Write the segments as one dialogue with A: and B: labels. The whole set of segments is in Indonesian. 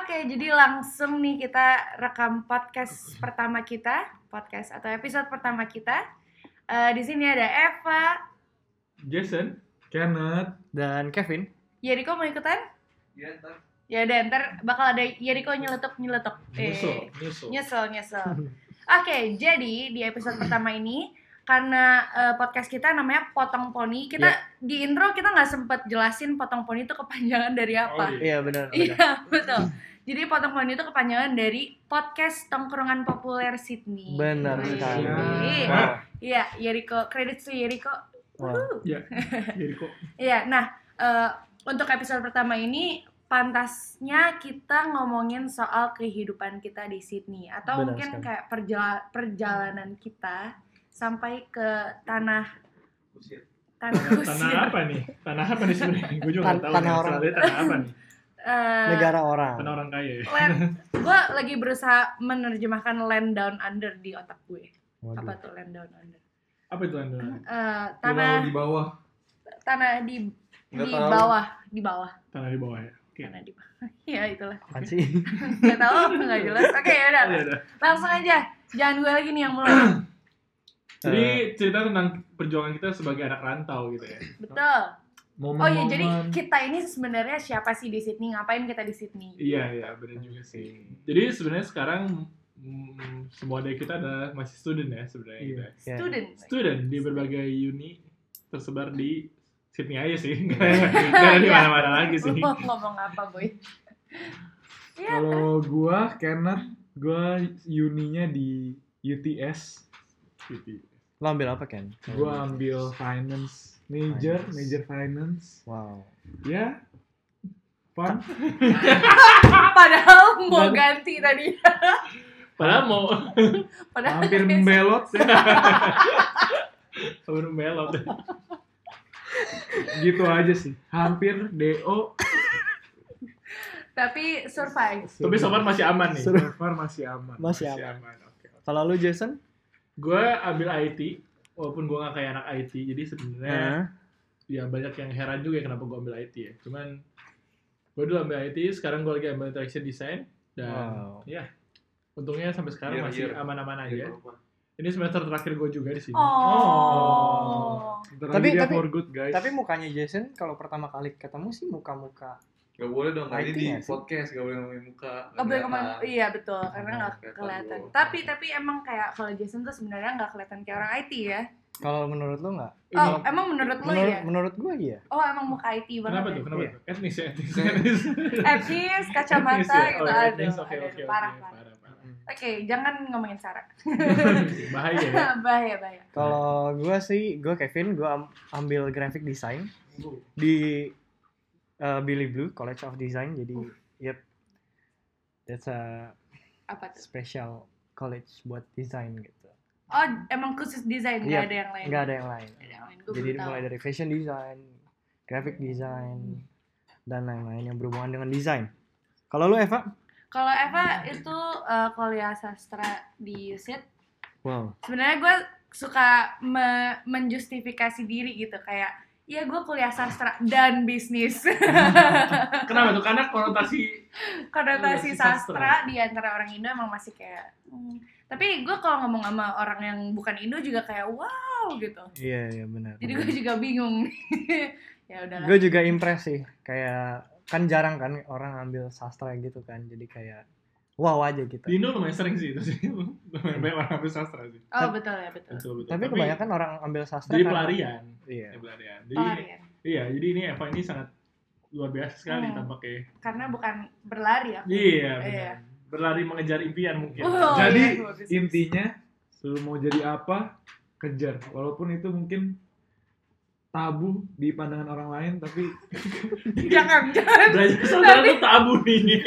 A: Oke, jadi langsung nih kita rekam podcast pertama kita, podcast atau episode pertama kita. Eh, di sini ada Eva,
B: Jason,
C: Kenneth
D: dan Kevin
A: Yeriko mau ikutan?
B: ya ntar
A: Ya udah, ntar bakal ada Yeriko nyeletuk nyeletuk. Eh,
C: nyusul, nyusul.
A: nyesel, nyesel. Oke, jadi di episode pertama ini karena eh, podcast kita namanya Potong Poni, kita di intro kita nggak sempet jelasin Potong Poni itu kepanjangan dari apa.
B: Oh,
D: iya benar benar.
A: Iya betul. Jadi potong pohon itu kepanjangan dari podcast tongkrongan populer Sydney.
D: Benar
A: Wih.
D: sekali.
A: Iya,
C: Nah,
A: Iya, Yeriko. Kredit to Yeriko.
D: Wah.
A: Wuhu.
B: jadi kok
A: Iya, nah eh, untuk episode pertama ini pantasnya kita ngomongin soal kehidupan kita di Sydney atau
D: Benar
A: mungkin
D: sekali.
A: kayak perjala- perjalanan kita sampai ke tanah
B: kusir.
A: tanah
C: tanah
A: kusir.
C: apa nih? Tanah apa nih sebenarnya? Gue juga
D: Tan-
C: nggak tahu.
D: tanah
C: nih.
D: orang.
C: Sebenarnya tanah apa nih?
A: Eh,
D: Negara orang.
C: Tanah orang kaya. ya?
A: land- gue lagi berusaha menerjemahkan land down under di otak gue. Apa
D: Waduh.
A: tuh land down under?
C: Apa itu tanah orang?
A: Eh,
B: Pulau
A: tanah
B: di bawah.
A: tanah di
B: Nggak
A: di
B: tahu.
A: bawah di bawah
C: Tanah di bawah ya. Oke.
A: tanah di bawah ya itulah
D: Apaan sih? Eh,
A: nggak tahu apa nggak jelas oke ya udah
C: Iya, dah.
A: langsung aja jangan gue lagi nih yang mulai
C: Jadi cerita tentang perjuangan kita sebagai anak rantau gitu ya.
A: betul
C: Momen
A: oh iya jadi kita ini sebenarnya siapa sih di Sydney ngapain kita di Sydney
C: Iya, iya, benar juga sih. Jadi sebenarnya sekarang mm, semua dari kita adalah masih student ya sebenarnya gitu. ya.
D: Ya.
A: student
C: Student di berbagai uni tersebar di Sydney aja sih. Nggak ada di
A: Iya.
C: mana-mana lagi
A: Lu
C: sih.
A: mau ngomong apa boy ya
B: Oh, Kalau gua Kenneth, gua uninya di UTS.
C: Gitu.
D: Lo ambil apa Ken?
B: Gua ambil finance major,
D: Finance.
B: major finance.
D: Wow.
B: Ya. Fun.
A: padahal mau
B: Dan-
A: ganti tadi
C: Padahal mau
A: padahal
B: Hampir membelot ya.
C: Baru melot.
B: gitu aja sih. Hampir DO.
A: tapi survive
C: Tapi so far masih aman nih.
B: So far masih aman.
D: Masih aman.
C: Oke.
D: Kalau lu Jason?
C: Gue ambil IT, walaupun gue gak kayak anak IT, jadi sebenarnya ya banyak yang heran juga ya kenapa gue ambil IT ya. Cuman gue dulu ambil IT, sekarang gue lagi ambil interaction design dan
D: Wow.
C: ya untungnya sampai sekarang
B: Iya,
C: masih
B: iya.
C: aman-aman aja. Ini semester terakhir gue juga di sini.
A: oh
D: Tapi-
B: Tapi,
D: tapi-
B: for good guys.
D: Tapi mukanya Jason kalau pertama kali ketemu sih muka-muka.
E: Gak boleh dong, tadi
D: Lighting
E: di
D: nggak sih?
E: podcast gak boleh ngomongin muka.
A: Gak boleh ngomong,
E: kelihatan.
A: iya betul, karena
E: Kelihatan
A: gak kelihatan.
E: dulu.
A: Tapi tapi emang kayak kalau Jason tuh sebenarnya gak kelihatan kayak orang IT ya.
D: Kalau menurut lu nggak?
A: Oh, emang menurut lo
D: Iya. Menurut
A: ya?
D: menurut gua iya.
A: Oh, emang muka IT banget.
C: Kenapa tuh?
A: ya?
C: Kenapa
D: Iya.
C: tuh? Etnis ya, etnis. etnis.
A: Etnis, kacamata
C: Etnis ya?
A: gitu
C: Oh,
A: aduh,
C: etnis, Oke,
A: aduh,
C: oke, oke.
A: parah,
C: Parah,
A: parah.
C: parah.
A: Oke, jangan ngomongin Sarah.
C: Bahaya ya.
A: bahaya, bahaya.
D: Kalau gua sih, gua Kevin, gua am- ambil graphic design di uh, Billy Blue College of Design. Jadi, yep, that's a
A: Apa tuh?
D: special college buat desain gitu.
A: Oh, emang khusus desain, gak
D: Iya,
A: ada yang lain.
D: Nggak ada yang lain.
A: Nggak ada yang lain. Gue
D: Jadi
A: baru tahu. Hmm.
D: mulai dari fashion design, graphic design, dan lain-lain yang berhubungan dengan desain. Kalau lu Eva?
A: Kalau Eva itu eh, kuliah sastra di USIT,
D: Wow.
A: sebenarnya gue suka me- menjustifikasi diri gitu kayak ya gue kuliah sastra dan bisnis
C: Kenapa tuh? Karena konotasi
A: konotasi
C: Iya, si
A: sastra
C: sastra.
A: di antara orang Indo emang masih kayak hmm. tapi gue kalau ngomong sama orang yang bukan Indo juga kayak wow gitu
D: Iya, iya benar.
A: jadi
C: Hmm.
A: gue juga bingung ya udahlah
D: gue juga impress sih kayak kan jarang kan orang ambil sastra gitu kan jadi kayak wow aja gitu
C: Di Indo lumayan sering sih itu sih. Lumayan banyak orang ambil sastra sih.
A: oh betul ya betul
C: Betul, betul.
D: tapi kebanyakan orang ambil sastra
C: jadi
D: karena-
C: pelarian.
D: iya
C: Jadi pelarian. Jadi
A: pelarian
C: iya, jadi ini Eva ini sangat luar biasa sekali
A: Hmm.
C: tampaknya.
A: karena bukan berlari aku
C: Iya,
A: Iya.
C: benar. Berlari mengejar impian mungkin.
A: Wow.
C: Jadi
B: Jadi
A: iya, bagus.
B: intinya lu mau jadi apa kejar walaupun itu mungkin tabu di pandangan orang lain tapi
A: jangan jangan
C: belajar saudara
A: Tapi- Iya,
C: tuh tabu nih.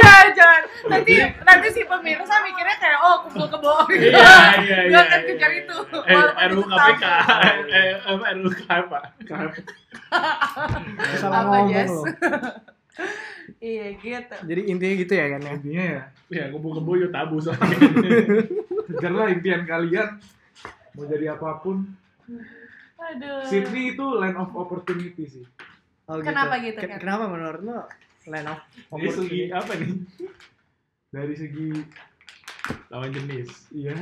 A: jangan jangan. nanti nanti si pemirsa mikirnya kayak oh kumpul kebohong
C: Iya, iya,
A: Gua
C: iya.
A: akan
C: iya,
A: kejar
C: iya.
A: itu.
C: Eh,
A: Walaupun
C: RUU
A: itu
C: KPK.
B: tabu.
C: Eh, apa, RUU KPK.
D: Salah
A: Apa,
D: ngomong
C: gitu
A: Jess?
D: lo.
A: iya gitu
D: jadi intinya gitu ya kan ya
B: intinya ya
C: Iya, kumpul kebo ya tabu soalnya.
B: kejarlah impian kalian mau jadi apapun
A: aduh
B: Sydney itu land of opportunity sih
D: Oh,
A: Kenapa gitu, Ken?
D: Ken- Oh, kenapa menurut lo land of
C: Dari segi
D: opportunity.
C: apa nih?
B: dari segi
C: Lawan jenis.
B: ya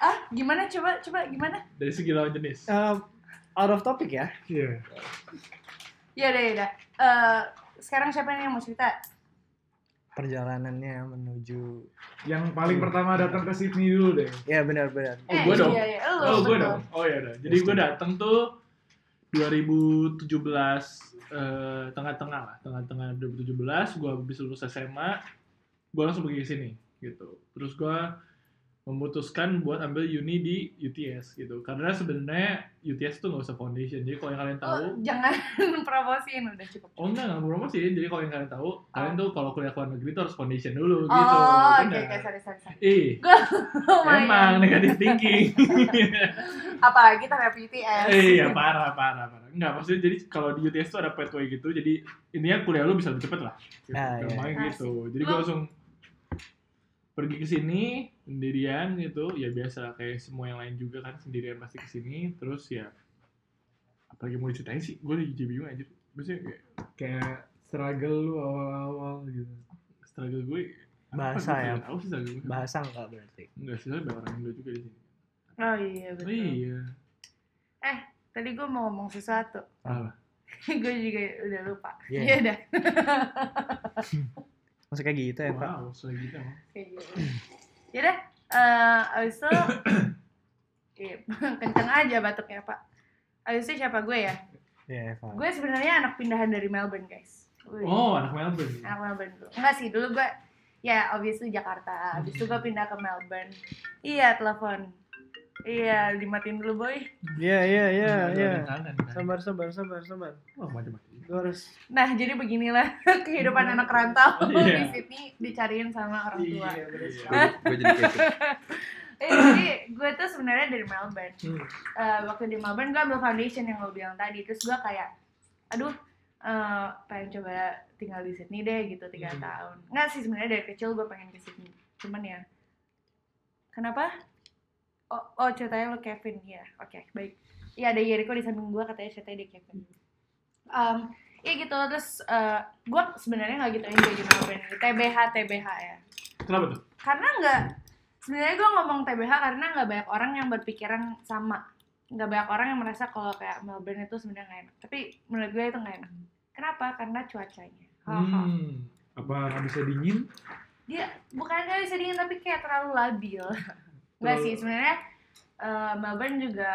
A: ah gimana coba coba gimana
C: Dari segi lawan jenis.
D: Eh, out of topic ya.
B: ya
A: ya udah ya udah Eh, sekarang siapa nih yang mau cerita
D: Perjalanannya menuju
B: yang paling
C: Hmm.
B: pertama datang ke Sydney dulu deh
D: ya benar-benar.
C: Oh, gua dong.
A: iya, iya, lu,
C: Oh, gue
A: betul.
C: dong. Oh ya udah. Jadi gue datang tuh 2017 eh, tengah-tengah lah, tengah-tengah 2017 gue habis lulus SMA, gue langsung pergi ke sini gitu. Terus gue memutuskan buat ambil uni di UTS gitu. Karena sebenarnya UTS tuh nggak usah foundation. Jadi kalau yang kalian tahu,
A: Oh, jangan promosiin udah cukup
C: oh, enggak nggak promosi. Jadi kalau yang kalian tahu, kalian tuh kalau kuliah ke luar negeri tuh harus foundation dulu
A: oh
C: gitu.
A: oke
C: Benar.
A: oke sorry sorry sorry Oh,
C: Ih, emang
A: Lumayan.
C: negatif thinking.
A: apalagi tapi BTS
C: Iya parah parah parah. Enggak maksudnya jadi kalau di UTS tuh ada pathway gitu. Jadi intinya kuliah lu bisa lebih cepet lah. Gitu.
D: Ah, iya.
C: Gampangnya
A: Asik.
C: gitu. Jadi gue
A: Lu-
C: langsung pergi ke sini sendirian gitu. Ya biasa kayak semua yang lain juga kan sendirian pasti ke sini. Terus ya apalagi mau diceritain sih. Gue jadi bingung aja. Maksudnya kayak
B: kayak struggle lu awal-awal gitu
C: struggle gue apa,
D: Bahasa
C: gue
D: ya.
C: nggak Tahu sih struggle gue.
D: Bahasa enggak berarti.
C: Enggak sih, soalnya banyak orang Indo juga di sini.
A: oh iya betul
C: Oh, iya.
A: tadi gue mau ngomong sesuatu
C: Apa?
A: gue juga udah lupa
D: Iya.
A: ya udah
D: Maksudnya kayak gitu ya, Pak.
C: Wow, soalnya gitu emang.
A: kayak gitu ya udah eh, abis itu Iya, kenceng aja batuknya pak abis itu siapa gue ya
D: Iya, Eva.
A: gue sebenarnya anak pindahan dari Melbourne guys Wih.
C: Oh, anak Melbourne.
A: anak Melbourne dulu enggak sih dulu gue ya obviously Jakarta abis itu gue pindah ke Melbourne iya telepon iya dimatiin dulu boy
D: Iya, iya, iya,
C: Ada orang
D: iya.
C: kangen, kan?
D: Sabar, sabar, sabar, sabar.
C: Oh, macam-macam.
D: Gue harus
A: nah jadi beginilah kehidupan anak rantau
C: Iya.
A: di sini dicariin sama orang tua
B: Iya.
E: Gue jadi kayak gitu.
A: Eh, jadi gue tuh sebenarnya dari Melbourne. Eh, waktu di Melbourne gue ambil foundation yang lo bilang tadi. Terus gue kayak, aduh, eh, pengen coba tinggal di Sydney deh gitu tiga
C: Hmm.
A: tahun. Nggak sih sebenarnya dari kecil gue pengen ke Sydney. Cuman ya, kenapa? Oh, oh ceritanya lo Kevin ya. Oke, baik. Iya ada Yeriko di samping gue katanya ceritanya dia Kevin. Em, Iya gitu terus eh, gue sebenarnya nggak gitu enjoy di Melbourne. TBH TBH ya
C: Kenapa tuh?
A: karena nggak sebenarnya gue ngomong TBH karena nggak banyak orang yang berpikiran sama nggak banyak orang yang merasa kalau kayak Melbourne itu sebenarnya nggak enak tapi menurut gue itu nggak enak kenapa karena cuacanya Haha.
C: Hmm.
B: apa nggak bisa dingin
A: dia bukan nggak bisa dingin tapi kayak terlalu labil nggak sih
C: Terlalu-
A: sebenarnya eh, Melbourne juga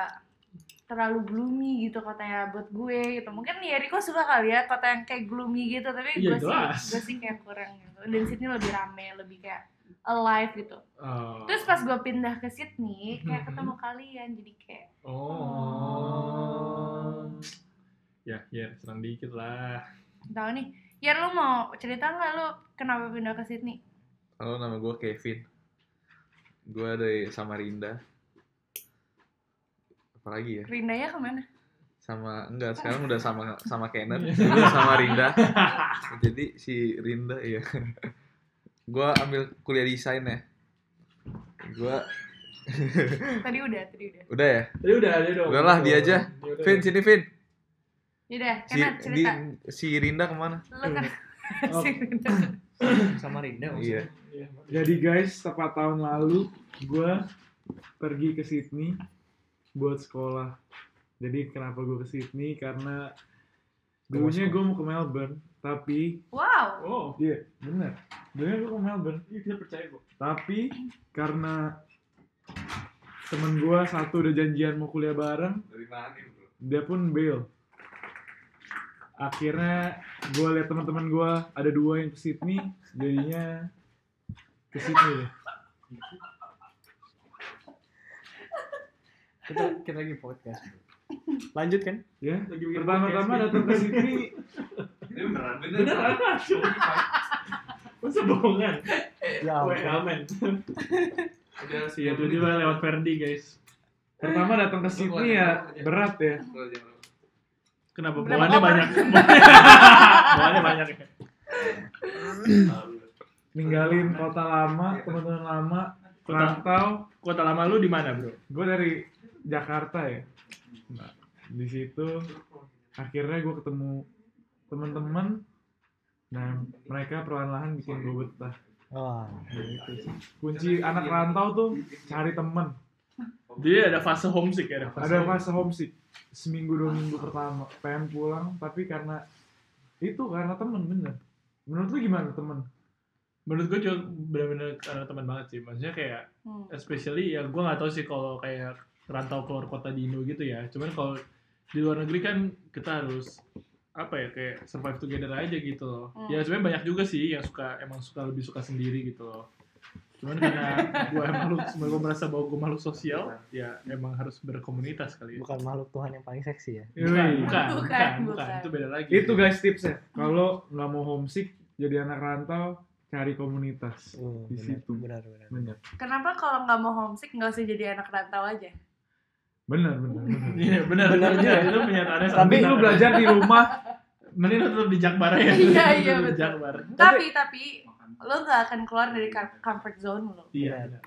A: terlalu gloomy gitu kotanya buat gue gitu mungkin ya Riko suka kali ya kota yang kayak gloomy gitu tapi gue
C: Iya,
A: sih
C: jelas.
A: gue sih kayak kurang gitu dan Sydney lebih rame lebih kayak alive gitu
B: Eh.
C: Oh.
A: Terus pas gue pindah ke Sydney, kayak
C: Mhm.
A: ketemu kalian, jadi kayak
C: Oh. Ya, ya, senang dikit lah.
A: tahu nih. Ya lu mau cerita nggak lu kenapa pindah ke Sydney?
E: Halo, nama gue Kevin. Gue dari Samarinda. Apalagi ya?
A: Rindanya kemana?
E: Sama enggak sekarang udah sama sama Kenneth, jadi sama Rinda. Jadi si Rinda ya. Gue ambil kuliah desain ya. Gue
A: Tadi udah, tadi udah.
E: udah ya.
C: Tadi udah, tadi udah.
E: Udahlah, dia aja.
C: Ya udah.
E: Vin sini Vin.
A: Yaudah, Kenat
E: Si, di,
A: Ya cerita.
E: si Rinda kemana?
A: Lu kan kenapa
C: Oh.
A: sih Rinda?
D: sama Rinda maksudnya.
E: Iya.
C: Iya.
B: jadi guys tepat tahun lalu gue pergi ke Sydney buat sekolah jadi kenapa gue ke Sydney karena dulunya gue mau ke Melbourne tapi
A: Wow.
C: Oh,
B: iya bener dulunya gue ke Melbourne
C: iya, kita percaya kok.
B: tapi karena temen gue satu udah janjian mau kuliah bareng
E: Dari mana bro?
B: dia pun bail akhirnya gue liat teman-teman gue ada dua yang ke Sydney jadinya ke Sydney deh.
D: Kita kita lagi podcast. Lanjut kan?
B: ya
C: Lagi bikin
B: pertama-tama
C: podcast.
B: datang ke Sydney
E: Ini beneran bener.
C: Beneran langsung. Masa bohongan?
D: Ya.
C: Weh, aman.
E: Udah sih
B: ya,
C: Iya, itu juga lewat Ferdi, guys.
B: pertama datang ke Sydney ya berat ya
C: Kenapa
A: Berapa
C: bawaannya
A: koper?
C: banyak? bawaannya banyak. ya?
B: ninggalin kota lama teman-teman lama
C: Kota-
B: rantau
C: Kota lama lu di mana, Bro?
B: gue dari Jakarta ya nah, di situ akhirnya gue ketemu teman-teman Nah, mereka perlahan-lahan bikin gue betah.
D: Wah.
B: Ya, itu sih. Kunci anak
A: iya.
B: rantau tuh cari temen.
C: Jadi ada fase homesick ya, ada fase.
B: Ada
C: homesick.
B: fase homesick. Seminggu dua minggu pertama pengen pulang, tapi karena itu karena temen bener. Menurut lu gimana temen?
C: Menurut gue juga benar-benar ada teman banget sih. Maksudnya kayak
A: Hmm.
C: especially ya gue nggak tahu sih kalau kayak rantau keluar kota di Indo gitu ya. Cuman kalau di luar negeri kan kita harus apa ya kayak survive together aja gitu loh.
A: Hmm.
C: Ya sebenarnya banyak juga sih yang suka emang suka lebih suka sendiri gitu loh. Cuman karena gue makhluk, gue merasa bahwa gue makhluk sosial, ya emang harus berkomunitas kali ya.
D: Bukan makhluk Tuhan yang paling seksi ya.
B: Yoi.
C: Bukan, bukan,
A: Bukan,
C: bukan, bukan.
A: bukan.
C: Itu beda lagi.
B: Itu guys tipsnya. Kalau nggak mau homesick, jadi anak rantau, cari komunitas.
D: Uh,
B: Di
D: benar,
B: situ.
D: Benar, benar.
B: Bener,
A: Kenapa kalau nggak mau homesick nggak usah jadi anak rantau aja?
B: bener, bener. bener.
C: Iya benar
D: Benar
C: benar
D: juga.
C: Itu pernyataannya
B: Tapi
C: sangat
B: lu
C: benar.
B: belajar di rumah
C: mending lu tetap di Jakbar ya.
A: Iya, iya,
C: Tetap di
A: betul.
C: Jakbar.
A: Tapi tapi lo nggak akan keluar dari com- comfort zone lo.
C: Iya.
D: Benar.
C: benar.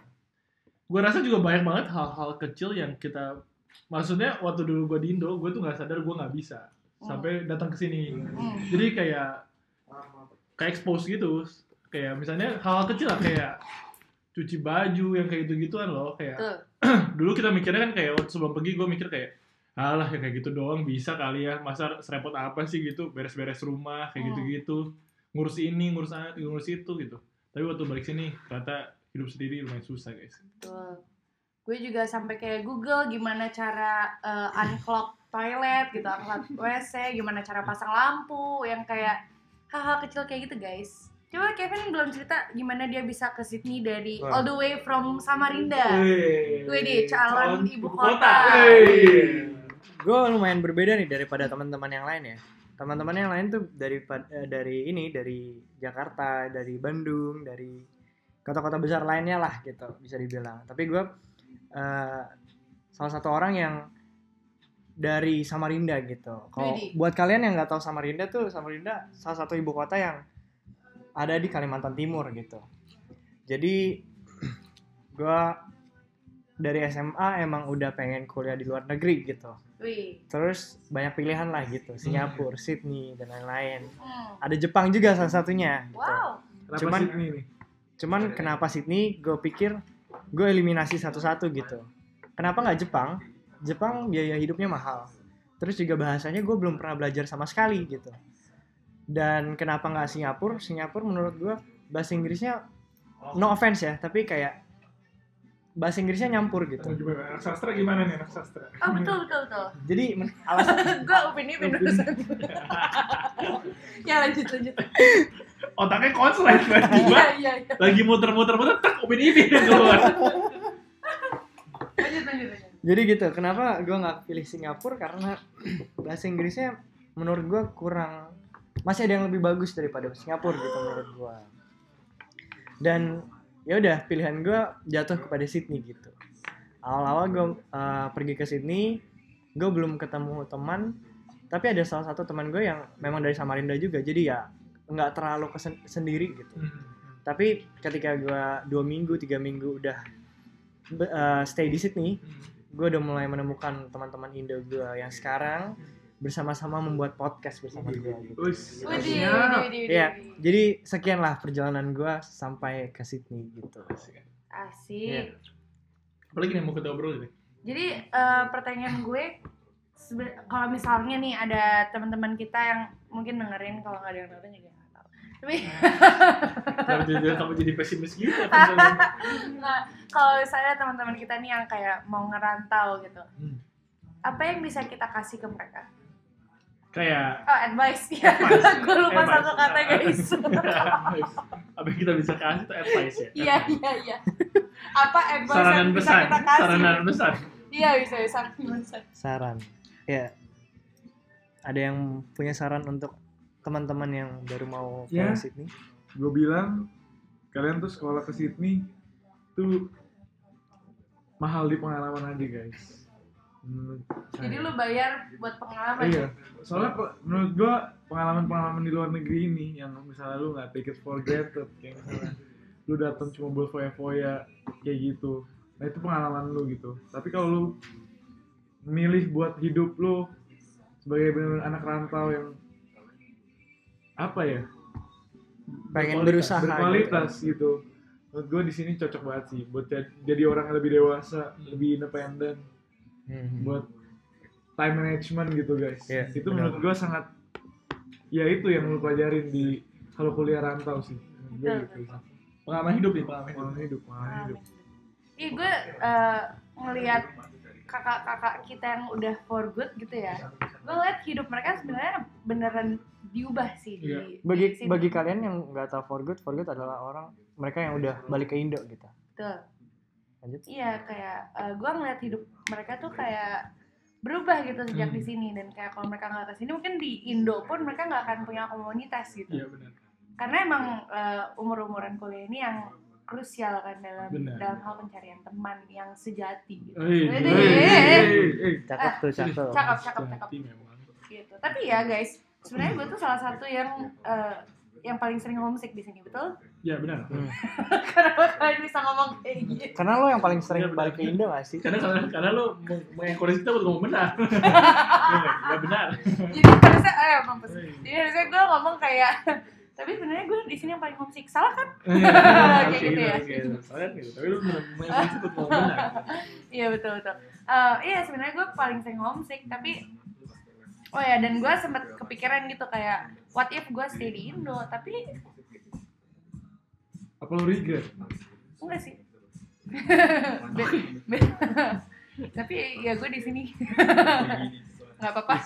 C: Gue rasa juga banyak banget hal-hal kecil yang kita maksudnya waktu dulu gue di Indo, gue tuh nggak sadar gue nggak bisa sampai datang ke sini.
A: Hmm.
C: Jadi kayak kayak expose gitu. Kayak misalnya hal-hal kecil lah kayak cuci baju yang kayak gitu-gituan loh kayak
A: Tuh.
C: dulu kita mikirnya kan kayak waktu sebelum pergi gue mikir kayak alah ya kayak gitu doang bisa kali ya masa serempot apa sih gitu beres-beres rumah kayak
A: Hmm.
C: gitu-gitu ngurus ini ngurus an- ngurus itu gitu tapi waktu balik sini ternyata hidup sendiri lumayan susah guys
A: Betul. Gue juga sampai kayak Google gimana cara eh, unclog toilet gitu, unclog WC, gimana cara pasang lampu, yang kayak hal-hal kecil kayak gitu guys. Coba Kevin belum cerita gimana dia bisa ke Sydney dari
D: Wah.
A: all the way from Samarinda.
C: Wey.
A: Gue deh calon ibu kota.
C: Wey.
D: Gue lumayan berbeda nih daripada teman-teman yang lain ya. Teman-teman yang lain tuh dari eh, dari ini dari Jakarta, dari Bandung, dari kota-kota besar lainnya lah gitu bisa dibilang. Tapi gue salah satu orang yang dari Samarinda gitu. Kalau
A: Widih.
D: buat kalian yang nggak tahu Samarinda tuh Samarinda salah satu ibu kota yang ada di Kalimantan Timur gitu. Jadi gue dari SMA emang udah pengen kuliah di luar negeri gitu.
A: Wih.
D: Terus banyak pilihan lah gitu, Singapura, Sydney dan lain-lain.
A: Hmm.
D: Ada Jepang juga salah satunya. gitu.
A: Wow.
B: Kenapa
D: Cuman-
B: Sydney nih?
D: Cuman kenapa Sydney? Gue pikir gue eliminasi satu-satu gitu. Kenapa nggak Jepang? Jepang biaya hidupnya mahal. Terus juga bahasanya gue belum pernah belajar sama sekali gitu. Dan kenapa nggak Singapura? Singapura menurut gue bahasa Inggrisnya no offense ya, tapi kayak bahasa Inggrisnya nyampur gitu.
B: Gimana? Anak sastra gimana nih anak sastra?
A: Oh betul betul betul.
D: Jadi men- alasan
A: Gue upin ini dosen. ya lanjut lanjut.
C: otaknya konslet berarti
A: Iya
C: gua
A: iya. iya.
C: lagi muter-muter muter tak upin ini dia keluar
A: Lanjut lanjut lanjut.
D: Jadi gitu, kenapa gue nggak pilih Singapura karena bahasa Inggrisnya menurut gue kurang masih ada yang lebih bagus daripada Singapura gitu menurut gue. Dan ya udah pilihan gue jatuh kepada Sydney gitu. Awal-awal gue pergi ke Sydney, gue belum ketemu teman, tapi ada salah satu teman gue yang memang dari Samarinda juga, jadi ya nggak terlalu kesen- sendiri gitu tapi ketika gua dua minggu tiga minggu udah be- eh, stay di Sydney gua udah mulai menemukan teman-teman Indo gua yang sekarang bersama-sama membuat podcast bersama gua gitu.
B: Wis.
A: Widih,
B: siap.
A: widih, widih,
D: Iya.
A: widih.
D: jadi sekianlah perjalanan gua sampai ke Sydney gitu
A: Asik.
C: apalagi yang mau kita obrol ini
A: Jadi eh, pertanyaan gue sebe- kalau misalnya nih ada teman-teman kita yang mungkin dengerin kalau nggak ada yang dengerin juga nggak tahu. Tapi
C: Kenapa jadi- kamu jadi pesimis gitu kan
A: nah, kalau misalnya teman-teman kita nih yang kayak mau ngerantau gitu,
C: Hmm.
A: apa yang bisa kita kasih ke mereka?
C: kayak
A: Oh advice ya,
C: Advice.
A: gue lupa
C: Advice. Nah,
A: satu kata guys.
C: apa yang kita bisa kasih itu advice ya
A: Iya iya iya. Apa advice
C: saran dan
A: yang bisa
C: pesan
A: kita kasih?
C: saran dan pesan
A: Iya bisa bisa saran dan pesan.
D: saran ya ada yang punya saran untuk teman-teman yang baru mau ke
B: Ya.
D: Sydney
B: Gue bilang kalian tuh sekolah ke Sydney tuh mahal di pengalaman aja guys. Menurut
A: Jadi
B: saya.
A: lu ya? bayar buat pengalaman.
B: Iya. Soalnya pe- menurut gua pengalaman-pengalaman di luar negeri ini yang misalnya lu nggak take it for granted kayak misalnya lu datang cuma buat foya-foya kayak gitu. Nah itu pengalaman lu gitu. Tapi kalau lu milih buat hidup lu sebagai bener anak rantau yang apa ya
D: pengen
C: Berkualitas,
D: berusaha
B: berkualitas gitu. Menurut gue di sini cocok banget sih buat jad- jadi orang yang lebih dewasa, lebih independen,
D: gitu. Mhm.
B: buat time management gitu guys.
D: Iya,
B: itu
D: benar.
B: menurut gue sangat ya itu yang lu pelajarin di kalau kuliah rantau sih. Menurut gua
A: Betul,
B: gitu.
C: Pengalaman hidup nih, pengalaman hidup.
B: Pengalaman hidup, pengalaman hidup.
A: Ih, gue eh, ngelihat kakak-kakak kita yang udah for good gitu ya. Gue lihat hidup mereka sebenarnya beneran diubah sih di,
C: Iya.
A: di
D: bagi
A: sini.
D: bagi kalian yang nggak tahu for good for good adalah orang mereka yang udah balik ke Indo gitu
A: Betul.
D: lanjut
A: Iya, kayak gue ngeliat hidup mereka tuh kayak berubah gitu sejak
C: Hmm.
A: di sini dan kayak kalau mereka nggak kesini mungkin di Indo pun mereka nggak akan punya komunitas gitu.
C: Iya benar.
A: Karena emang eh, umur-umuran kuliah ini yang krusial kan dalam
C: Benar.
A: dalam hal pencarian teman yang sejati gitu.
C: Hei,
A: Jadi-
C: hei, hei, hei, hei.
D: cakep tuh cakep
A: Cakep,
C: Iya.
A: cakep, cakep.
C: Hati memang.
A: gitu. Tapi ya guys, sebenarnya gue tuh salah satu yang eh, yang paling sering homesick di sini betul.
C: Iya benar.
D: Hmm.
A: Kenapa kalian bisa ngomong kayak gitu?
D: karena lo yang paling sering
C: Iya, benar.
D: balik ke Indo gak sih
C: Karena karena, karena lo meng- mengencourage kita buat ngomong benar. Enggak benar.
A: Jadi harusnya eh mampus. Jadi harusnya gue ngomong kayak tapi sebenarnya gue di sini yang paling homesick. Salah kan?
C: iya,
A: Kayak gitu ya.
C: Soalnya gitu. Tapi lo mengencourage buat ngomong benar.
A: Iya betul betul. Eh, iya sebenarnya gue paling sering homesick tapi oh ya dan gue sempet kepikiran gitu kayak what if gue stay di Indo tapi
B: Apa lu regret?
A: enggak sih. Be- be- tapi ya gue di sini nggak apa-apa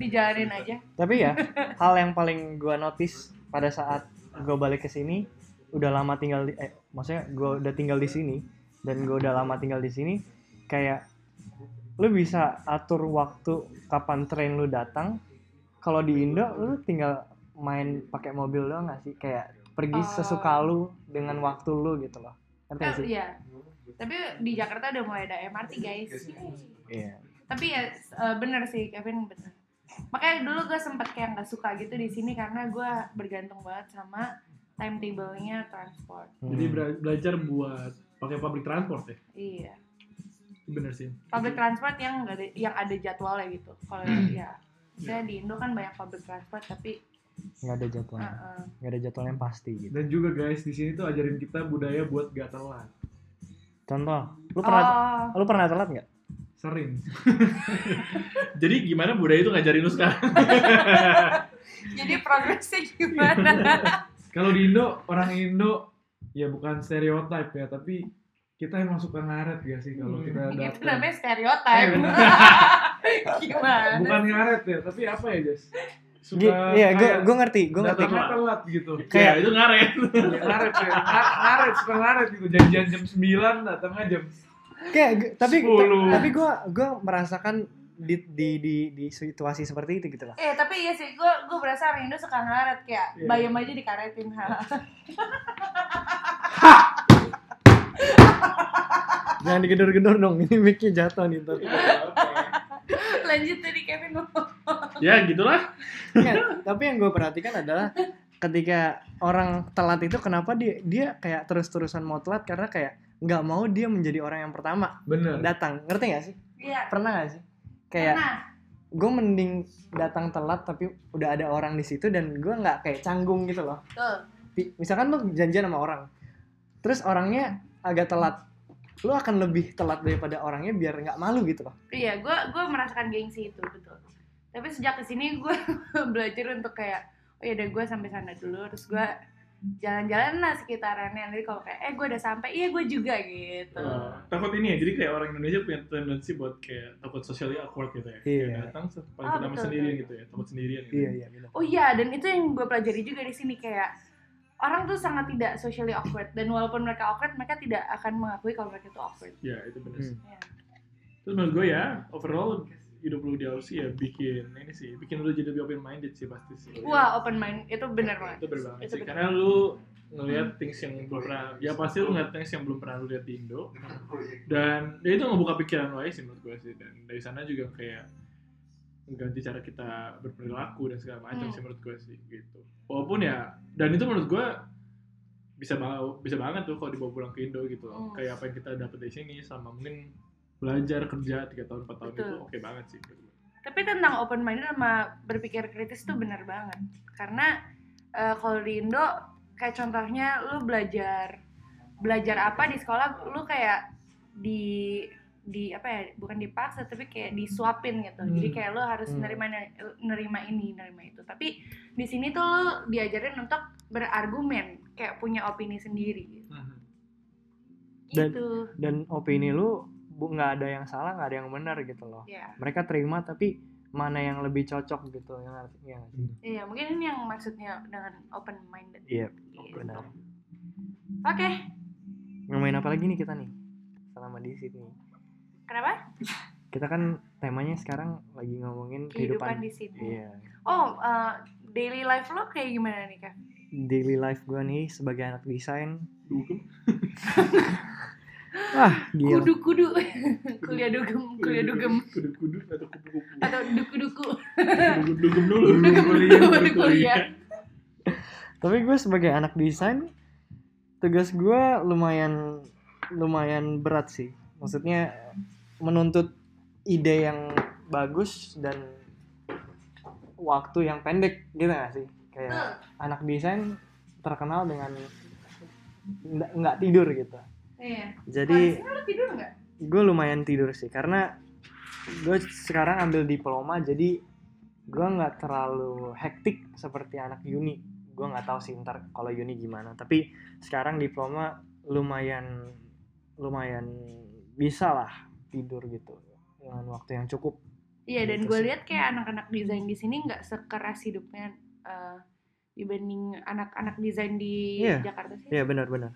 A: dijalanin aja
D: tapi ya hal yang paling gua notice pada saat gua balik ke sini udah lama tinggal di eh maksudnya gua udah tinggal di sini dan gua udah lama tinggal di sini kayak lu bisa atur waktu kapan train lu datang kalau di Indo lu tinggal main pakai mobil doang gak sih kayak pergi
A: Oh.
D: sesuka lu dengan waktu lu gitu loh ngerti
A: Eh,
D: gak sih
A: iya tapi di Jakarta udah mulai ada MRT guys
D: iya
A: tapi ya s- eh, bener sih Kevin bener makanya dulu gue sempet kayak nggak suka gitu di sini karena gue bergantung banget sama timetable-nya transport
C: Jadi
D: Hmm,
C: bela- belajar buat pakai public transport ya.
A: iya
C: Bener sih.
A: public transport yang nggak ada yang ada jadwalnya gitu kalau ya saya di Indo kan banyak public transport tapi
D: nggak ada jadwal
A: eh, eh,
D: nggak ada jadwal yang pasti gitu
B: Dan juga guys di sini tuh ajarin kita budaya buat gak telat.
D: contoh lu pernah
A: oh,
D: lu pernah telat nggak
B: Sering.
C: Jadi gimana budaya itu ngajarin lu sekarang?
A: jadi progresnya gimana
B: Kalau di Indo, orang Indo ya bukan stereotip ya, tapi kita emang suka ngaret ya sih kalau
C: Hmm.
B: kita
A: Iya, itu
B: datang.
A: namanya
B: Eh,
A: stereotype
B: bener.
A: gimana
B: bukan ngaret ya, tapi apa ya guys? Suka
D: Gi- iya gue
B: kayak
D: gue ngerti gue ngerti
B: datangnya telat gitu.
D: Kayak-
C: Ya, itu ngaret.
B: Ya, ngaret ya, Nga- ngaret, suka ngaret gitu. Janjian jam 9, datangnya jam
D: kayak gu- tapi
B: Sepuluh.
D: tapi gue gue merasakan di, di di di situasi seperti itu gitu lah
A: Eh tapi iya sih, gue gue berasa orang Indo suka ngaret kayak
C: Iya.
A: bayam aja dikaretin ha.
D: jangan digedor-gedor dong ini mic-nya jatuh nih ntar
A: Lanjut tadi Kevin ngomong.
C: ya gitulah.
D: Nggak, tapi yang gue perhatikan adalah ketika orang telat itu kenapa dia dia kayak terus-terusan mau telat karena kayak nggak mau dia menjadi orang yang pertama
B: bener.
D: datang ngerti gak sih
A: Iya.
D: pernah gak sih kayak
A: Nah,
D: gue mending datang telat tapi udah ada orang di situ dan gue nggak kayak canggung gitu loh
A: tuh.
D: Pi- misalkan lu janjian sama orang terus orangnya agak telat lu akan lebih telat daripada orangnya biar nggak malu gitu loh
A: Iya, gue gue merasakan gengsi itu betul. Tapi sejak kesini gue belajar untuk kayak oh ya udah gue sampai sana dulu terus gue jalan-jalan lah sekitarannya nanti kalau kayak eh gue udah sampai iya gue juga gitu
B: Oh.
C: Eh, takut ini ya. Jadi kayak orang Indonesia punya tendensi buat kayak takut socially awkward gitu ya.
D: Iya.
C: Kayak datang se- paling
A: Ah,
C: pertama
A: betul,
C: sendirian
A: betul.
C: gitu ya. Takut sendirian gitu.
D: iya iya benar
A: oh iya dan itu yang gue pelajari juga di sini kayak orang tuh sangat tidak socially awkward dan walaupun mereka awkward mereka tidak akan mengakui kalau mereka itu awkward
C: Ya, itu benar sih.
A: Iya.
D: Hmm.
C: Terus menurut gue ya, overall hidup lu di Aussie ya bikin ini sih, bikin lu jadi lebih open minded sih pasti sih.
A: Wah, open mind itu bener banget.
C: itu berbeda banget
A: Itu
C: sih.
A: bener.
C: Karena lu ngelihat things yang belum pernah, ya pasti lu ngeliat things yang belum pernah lu lihat di Indo. Dan ya itu ngebuka pikiran lu aja sih menurut gue sih. Dan dari sana juga kayak mengganti cara kita berperilaku dan segala macam
A: Hmm.
C: sih menurut gue sih gitu. Walaupun ya, dan itu menurut gue bisa ba- bisa banget tuh kalau dibawa pulang ke Indo gitu loh.
A: Hmm.
C: Kayak apa yang kita dapat dari sini sama mungkin belajar kerja tiga tahun empat tahun
A: Betul.
C: itu oke banget sih. menurut gue.
A: Tapi tentang open minded sama berpikir kritis tuh bener banget. Karena eh, kalau di Indo kayak contohnya lu belajar belajar apa di sekolah lu kayak di di apa ya bukan dipaksa tapi kayak disuapin gitu
C: Hmm.
A: jadi kayak lu harus
D: Hmm.
A: nerima nerima ini nerima itu tapi di sini tuh lu diajarin untuk berargumen kayak punya opini sendiri gitu
D: Dan-
A: Gitu.
D: dan opini lu bu nggak ada yang salah nggak ada yang benar gitu loh
A: ya
D: mereka terima tapi mana yang lebih cocok gitu yang yang
A: iya mungkin ini yang maksudnya dengan open minded
D: Iya,
A: Gitu.
D: benar
A: oke
D: ngomongin apa lagi nih kita nih selama di sini
A: kenapa
D: kita kan temanya sekarang lagi ngomongin
A: kehidupan
D: kehidupan,
A: di sini
D: iya
A: oh eh, daily life lo kayak gimana nih kak
D: daily life gua nih sebagai anak desain
C: Dugem.
D: wah gila
A: kudu kudu kuliah dugem kuliah dugem
C: Kudu-kudu atau kupu-kupu.
A: atau duku duku
C: Dugem- Dugem dulu.
A: Dugem
C: Kuliah,
A: dulu,
C: baru
A: kuliah.
D: tapi gue sebagai anak desain tugas gue lumayan lumayan berat sih maksudnya menuntut ide yang bagus dan waktu yang pendek gitu gak sih kayak anak desain terkenal dengan nggak nggak tidur gitu
A: iya
D: jadi
A: Harusnya lo tidur nggak
D: gue lumayan tidur sih karena gue sekarang ambil diploma jadi gue nggak terlalu hektik seperti anak uni gue nggak tahu sih ntar kalau uni gimana tapi sekarang diploma lumayan lumayan bisa lah tidur gitu dengan waktu yang cukup
A: iya dan
D: Gitu
A: gue
D: sih.
A: lihat kayak anak-anak desain di sini nggak sekeras hidupnya eh, dibanding anak-anak desain di
D: Iya.
A: Jakarta sih
D: ya benar-benar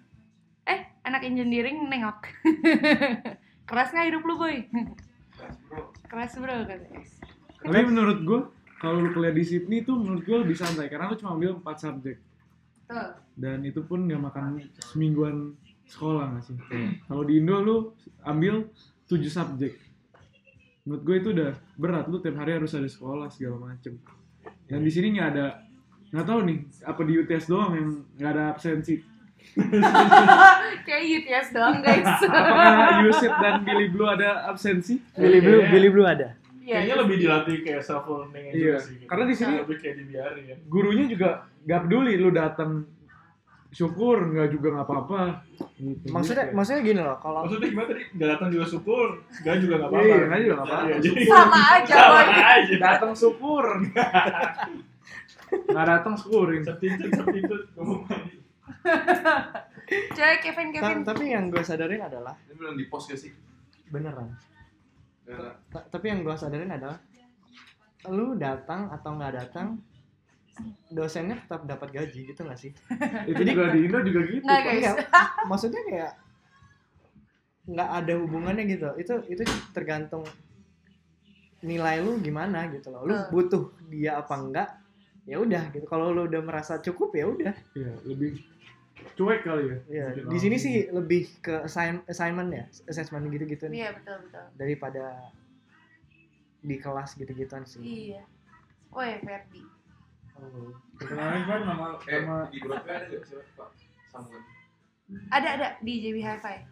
A: eh anak engineering nengok keras nggak hidup lu boy keras bro katanya
B: Tapi menurut gue kalau lu kuliah di Sydney itu menurut gue lebih santai karena lu cuma ambil 4 subjek
A: tuh
B: dan itu pun gak makan semingguan sekolah gak sih? kalau di Indo lu ambil 7 subjek. Menurut gue itu udah berat lu tiap hari harus ada sekolah segala macem. Dan di sini nggak ada nggak tahu nih apa di UTS doang yang nggak ada absensi.
A: kayak UTS doang guys Iya.
B: Apakah Yusit dan Billy Blue ada absensi?
D: Billy Blue
C: Iya.
D: Billy Blue ada
A: Iya,
C: Kayaknya lebih dilatih kayak self learning
B: Iya.
C: aja sih. gitu.
B: Karena di sini-
C: lebih kayak dibiarin.
B: gurunya juga nggak peduli lu datang syukur nggak juga nggak apa-apa gitu.
D: maksudnya
B: Gitu.
D: maksudnya gini loh kalau
C: Maksudnya gimana tadi? Gak datang juga syukur, gak juga gak
B: Iya,
C: apa-apa.
B: nggak juga nggak apa-apa.
C: Iya, jadi-
A: sama aja boy
C: Sama aja.
B: datang syukur nggak datang syukurin
C: Septintut, septintut. Ngomong lagi.
A: coy Kevin Kevin
D: ta- tapi yang gue sadarin adalah
E: Ini belum di post gak sih?
D: beneran
E: Enggak.
D: Ta- tapi yang gue sadarin adalah lu datang atau nggak datang dosennya tetap dapat gaji gitu nggak sih
B: itu juga di Indo juga gitu
A: nggak
D: Iya.
A: Nah, guys
D: maksudnya kayak nggak ada hubungannya gitu itu itu tergantung nilai lu gimana gitu loh lu
A: Hmm.
D: butuh dia apa enggak ya udah gitu kalau lu udah merasa cukup ya udah
B: Iya, lebih cuek kali ya
D: ya
B: Mungkin
D: di sini
B: orang.
D: sih lebih ke assign- assignment ya assessment gitu-gitu
A: iya betul betul
D: daripada di kelas gitu-gituan sih
A: iya Woi Ferdi
B: Oh. kenalin kan nama
E: Eh,
B: nama
E: di grup ada gak sih Pak? Sambungan.
A: ada ada di JB Hi-Fi.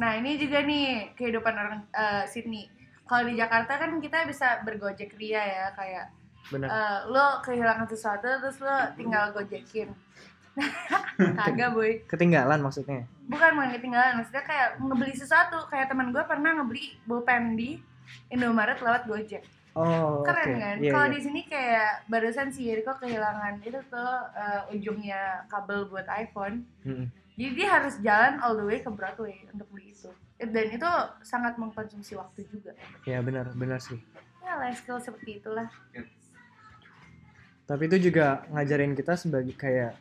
A: Nah ini juga nih kehidupan orang eh, Sydney. Kalau di Jakarta kan kita bisa bergojek ria ya kayak
D: benar
A: eh, lo kehilangan sesuatu terus lo tinggal gojekin. Kagak boy,
D: ketinggalan maksudnya
A: bukan bukan ketinggalan maksudnya kayak ngebeli sesuatu kayak teman gue pernah ngebeli pulpen di Indomaret lewat Gojek.
D: Oh,
A: Keren
D: oke.
A: kan?
D: Iya,
A: Kalau
D: iya.
A: di sini kayak barusan si Yeriko kehilangan itu tuh eh, ujungnya kabel buat iPhone.
D: Mm-mm.
A: Jadi dia harus jalan all the way ke Broadway untuk beli itu. Dan itu sangat mengkonsumsi waktu juga.
D: Ya benar, benar sih.
A: Ya life skill seperti itulah.
D: Tapi itu juga ngajarin kita sebagai kayak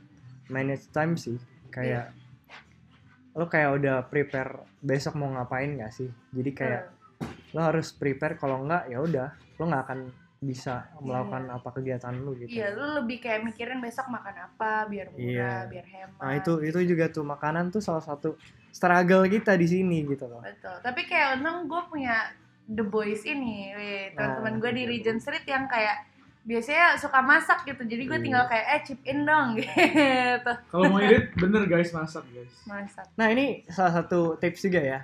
D: manage time sih. Kayak
A: Iya.
D: lo kayak udah prepare besok mau ngapain gak sih? Jadi kayak
A: Iya.
D: lo harus prepare kalau enggak ya udah lo nggak akan bisa melakukan apa kegiatan lo
A: Eh,
D: gitu.
A: Iya, lu lebih kayak mikirin besok makan apa biar murah,
D: Iya.
A: biar hemat.
D: Nah, itu itu juga tuh makanan tuh salah satu struggle kita di sini gitu loh.
A: Betul. Tapi kayak untung gue punya The Boys ini, weh,
D: Ah,
A: teman-teman gue di Regent Street yang kayak biasanya suka masak gitu. Jadi gue
D: Iya.
A: tinggal kayak eh chip in dong gitu.
B: kalau mau irit bener guys masak guys
A: Masak.
D: Nah ini salah satu tips juga ya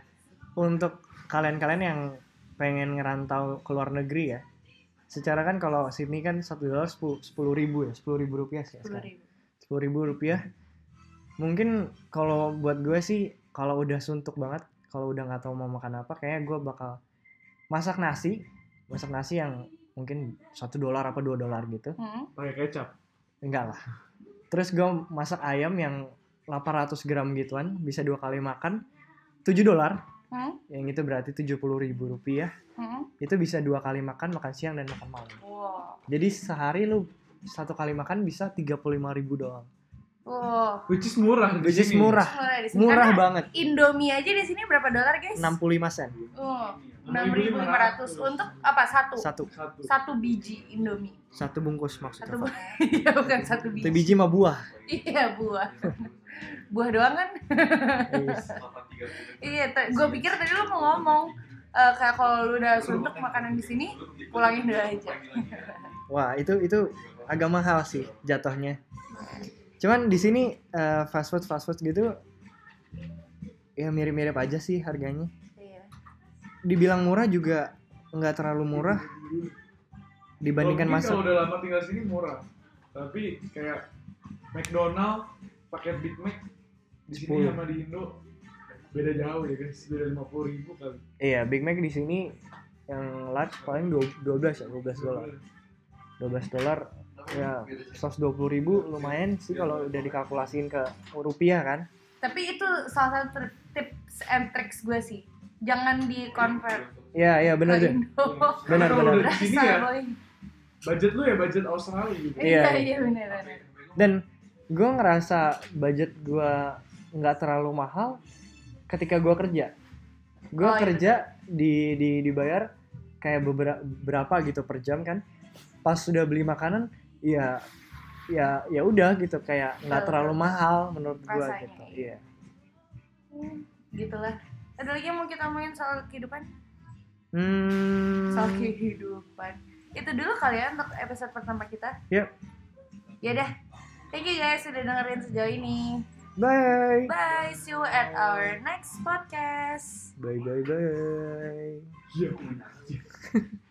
D: untuk kalian-kalian yang pengen ngerantau ke luar negeri ya. Secara kan kalau Sydney kan satu dolar sepuluh ribu ya, sepuluh ribu rupiah sih.
A: Sepuluh
D: Sepuluh
A: ribu.
D: sepuluh ribu rupiah mungkin kalau buat gue sih kalau udah suntuk banget kalau udah nggak tahu mau makan apa kayaknya gue bakal masak nasi masak nasi yang mungkin satu dolar apa dua dolar gitu
A: Hmm.
B: pakai kecap
D: enggak lah terus gue masak ayam yang 800 gram gituan bisa dua kali makan 7 dolar
A: Hmm.
D: yang itu berarti 70 ribu rupiah
A: Hmm.
D: itu bisa dua kali makan makan siang dan makan malam
A: Wow.
D: jadi sehari lu satu kali makan bisa 35 ribu doang
A: Wow.
B: which is murah di
D: which is
B: sini.
D: murah
A: Murah di sini.
D: murah
A: Karena
D: banget
A: Indomie aja di sini berapa dolar, guys?
D: 65 sen
A: Oh, 6.500 untuk apa? Satu.
D: satu
B: satu
A: Satu biji Indomie.
D: satu bungkus
A: Satu
D: maksudnya
A: buah. Iya, bukan satu
D: satu
A: biji.
D: biji mah buah
A: Iya, buah. buah doang kan? Iya, gue pikir tadi lu mau ngomong eh, kayak kalau lu udah suntuk makanan di sini, pulangin dulu aja.
E: ya.
D: wah itu itu agak mahal sih jatuhnya cuman di sini eh, fast food fast food gitu ya mirip-mirip aja sih harganya
A: Iya.
D: dibilang murah juga nggak terlalu murah dibandingkan
B: Mungkin
D: masuk
B: kalau udah lama tinggal sini murah tapi kayak McDonald paket Big Mac di
D: 10.
B: sini sama di Indo beda jauh ya guys beda lima puluh ribu kali
D: iya Big Mac di sini yang large paling dua- 12 ya 12 dolar 12 dolar ya 120 ribu lumayan sih kalau udah dikalkulasiin ke rupiah kan
A: Tapi itu salah satu tips and tricks gue sih. Jangan di convert
D: iya iya benar
A: ke
D: deh
A: Indo.
D: Benar,
B: Karena kalau
D: benar.
B: udah di sini
A: Berasa
B: ya
A: boy.
B: budget lu ya budget Australia gitu
A: Iya,
D: Iya.
A: iya benar benar.
D: dan gue ngerasa budget gue nggak terlalu mahal ketika gue kerja gue
A: Oh, iya.
D: kerja di, di dibayar kayak beberapa berapa gitu per jam kan pas sudah beli makanan ya ya ya udah gitu kayak nggak
A: Betul,
D: terlalu
A: betul.
D: mahal menurut gue
A: Rasanya,
D: gitu
A: iya.
D: iya
A: Hmm, Gitulah. Ada lagi yang mau kita omongin soal kehidupan?
D: hmm
A: Soal kehidupan. Itu dulu kali ya untuk episode pertama kita.
D: Yep.
A: Ya udah. Thank you guys sudah dengerin sejauh ini.
D: bye
A: Bye, see you at our next podcast.
D: bye bye bye
B: Iya.